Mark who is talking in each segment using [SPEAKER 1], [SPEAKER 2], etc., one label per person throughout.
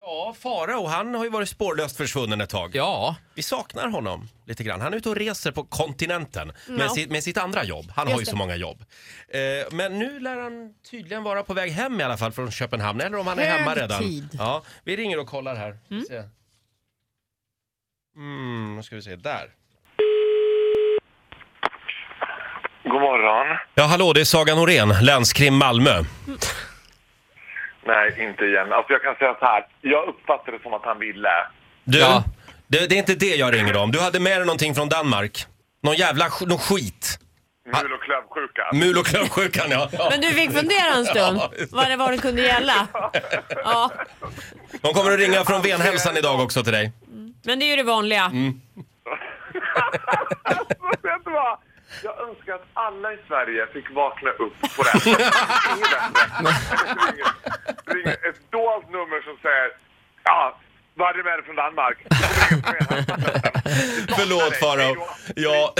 [SPEAKER 1] Ja, Farao, han har ju varit spårlöst försvunnen ett tag.
[SPEAKER 2] Ja,
[SPEAKER 1] Vi saknar honom lite grann. Han är ute och reser på kontinenten med,
[SPEAKER 3] Ja.
[SPEAKER 1] sitt, med sitt andra jobb. Han har ju
[SPEAKER 3] Just
[SPEAKER 1] så
[SPEAKER 3] det.
[SPEAKER 1] många jobb. Eh, men nu lär han tydligen vara på väg hem i alla fall från Köpenhamn, eller om han är
[SPEAKER 3] Hög
[SPEAKER 1] hemma redan.
[SPEAKER 3] tid.
[SPEAKER 1] Ja, vi ringer och kollar här. Se. Mm, nu ska vi se, där.
[SPEAKER 4] God morgon.
[SPEAKER 1] Ja, hallå, det är Saga Norén, länskrim Malmö.
[SPEAKER 4] Nej, inte igen. Alltså jag kan säga så här. Jag uppfattade det som att han ville.
[SPEAKER 1] Du,
[SPEAKER 2] Ja.
[SPEAKER 1] det, det är inte det jag ringer om. Du hade med dig någonting från Danmark. Någon jävla sk- någon skit.
[SPEAKER 4] Mul och klövsjuka.
[SPEAKER 1] Mul och klövsjukan, ja. ja.
[SPEAKER 3] Men du fick fundera en stund vad det var det kunde gälla. Ja,
[SPEAKER 1] De kommer att ringa från Venhälsan idag också till dig.
[SPEAKER 3] men det är ju det vanliga.
[SPEAKER 4] Alltså, vet du vad? Jag önskar att alla i Sverige fick vakna upp på det här sättet. Inget bättre. Ringer- Ringer ett dolt nummer som säger ja, vad hade du med dig från Danmark?
[SPEAKER 1] Förlåt Farao.
[SPEAKER 4] Hejdå.
[SPEAKER 1] Ja,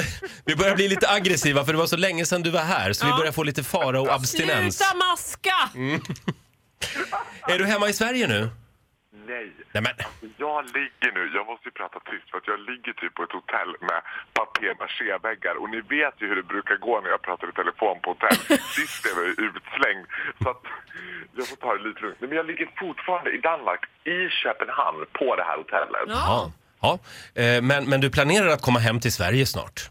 [SPEAKER 1] vi börjar bli lite aggressiva för det var så länge sedan du var här så vi
[SPEAKER 3] Ja.
[SPEAKER 1] börjar få lite Farao-abstinens.
[SPEAKER 3] Sluta maska!
[SPEAKER 5] Mm.
[SPEAKER 1] Är du hemma i Sverige nu?
[SPEAKER 4] Nej,
[SPEAKER 1] Nej men,
[SPEAKER 4] jag ligger nu, jag måste ju prata tyst för att jag ligger typ på ett hotell med papier-maché-väggar och ni vet ju hur det brukar gå när jag pratar i telefon på hotell. Sist blev jag ju utslängd så att jag får ta det lite lugnt. Nej, Men jag ligger fortfarande i Danmark, i Köpenhamn, på det här hotellet.
[SPEAKER 1] ja. ja. Eh, Men, men du planerar att komma hem till Sverige snart?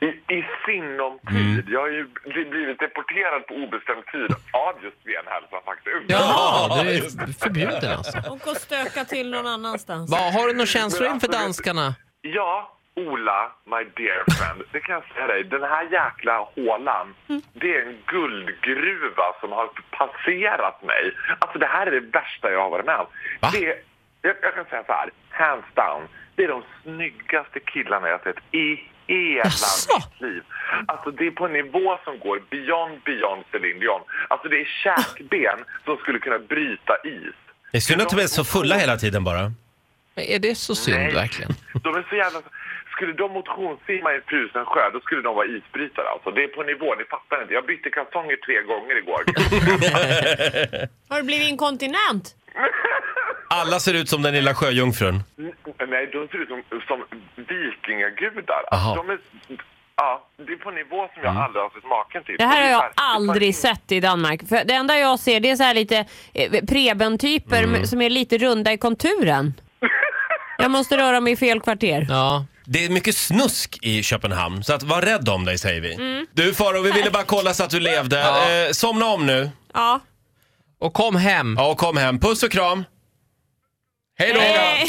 [SPEAKER 4] I, i sinom tid. Jag har ju bli- blivit deporterad på obestämd tid av just Venhälsan faktiskt.
[SPEAKER 2] jaha, du är förbjuden alltså.
[SPEAKER 3] Och gå och stöka till någon annanstans.
[SPEAKER 2] Va, har du några känslor inför danskarna?
[SPEAKER 4] Ja, Ola, my dear friend. Det kan jag säga dig. Den här jäkla hålan, det är en guldgruva som har passerat mig. Alltså det här är det värsta jag har varit med om.
[SPEAKER 1] Va?
[SPEAKER 4] Det är, jag, jag kan säga så här, hands down. Det är de snyggaste killarna jag sett i hela
[SPEAKER 2] Jaså?
[SPEAKER 4] mitt liv. Alltså det är på en nivå som går beyond, beyond Celine Dion. Alltså det är käkben som skulle kunna bryta is.
[SPEAKER 1] Det är synd att de är så fulla hela tiden bara.
[SPEAKER 2] Men Är det så synd
[SPEAKER 4] Nej.
[SPEAKER 2] verkligen?
[SPEAKER 4] De är så jävla... Skulle de motionssimma i frusen sjö, då skulle de vara isbrytare alltså. Det är på nivå, ni fattar inte. Jag bytte kalsonger tre gånger igår.
[SPEAKER 3] Har du blivit inkontinent?
[SPEAKER 1] Alla ser ut som den lilla sjöjungfrun.
[SPEAKER 4] Nej, de ser ut som, som vikingagudar.
[SPEAKER 1] Aha.
[SPEAKER 4] De är... Ja, det är på nivå som jag aldrig har sett maken till.
[SPEAKER 3] Det här har
[SPEAKER 4] är
[SPEAKER 3] jag
[SPEAKER 4] verkligen-
[SPEAKER 3] aldrig sett i Danmark. För det enda jag ser det är så här lite eh, Preben-typer med- som är lite runda i konturen. Jag måste röra mig i fel kvarter.
[SPEAKER 2] Ja.
[SPEAKER 1] Det är mycket snusk i Köpenhamn, så att var rädd om dig säger vi. Du Farao, vi ville bara kolla så att du levde.
[SPEAKER 2] Ja.
[SPEAKER 1] Eh, somna om nu.
[SPEAKER 3] Ja.
[SPEAKER 2] Och kom hem.
[SPEAKER 1] Ja, och kom hem. Puss och kram. Hej då!
[SPEAKER 3] Eh,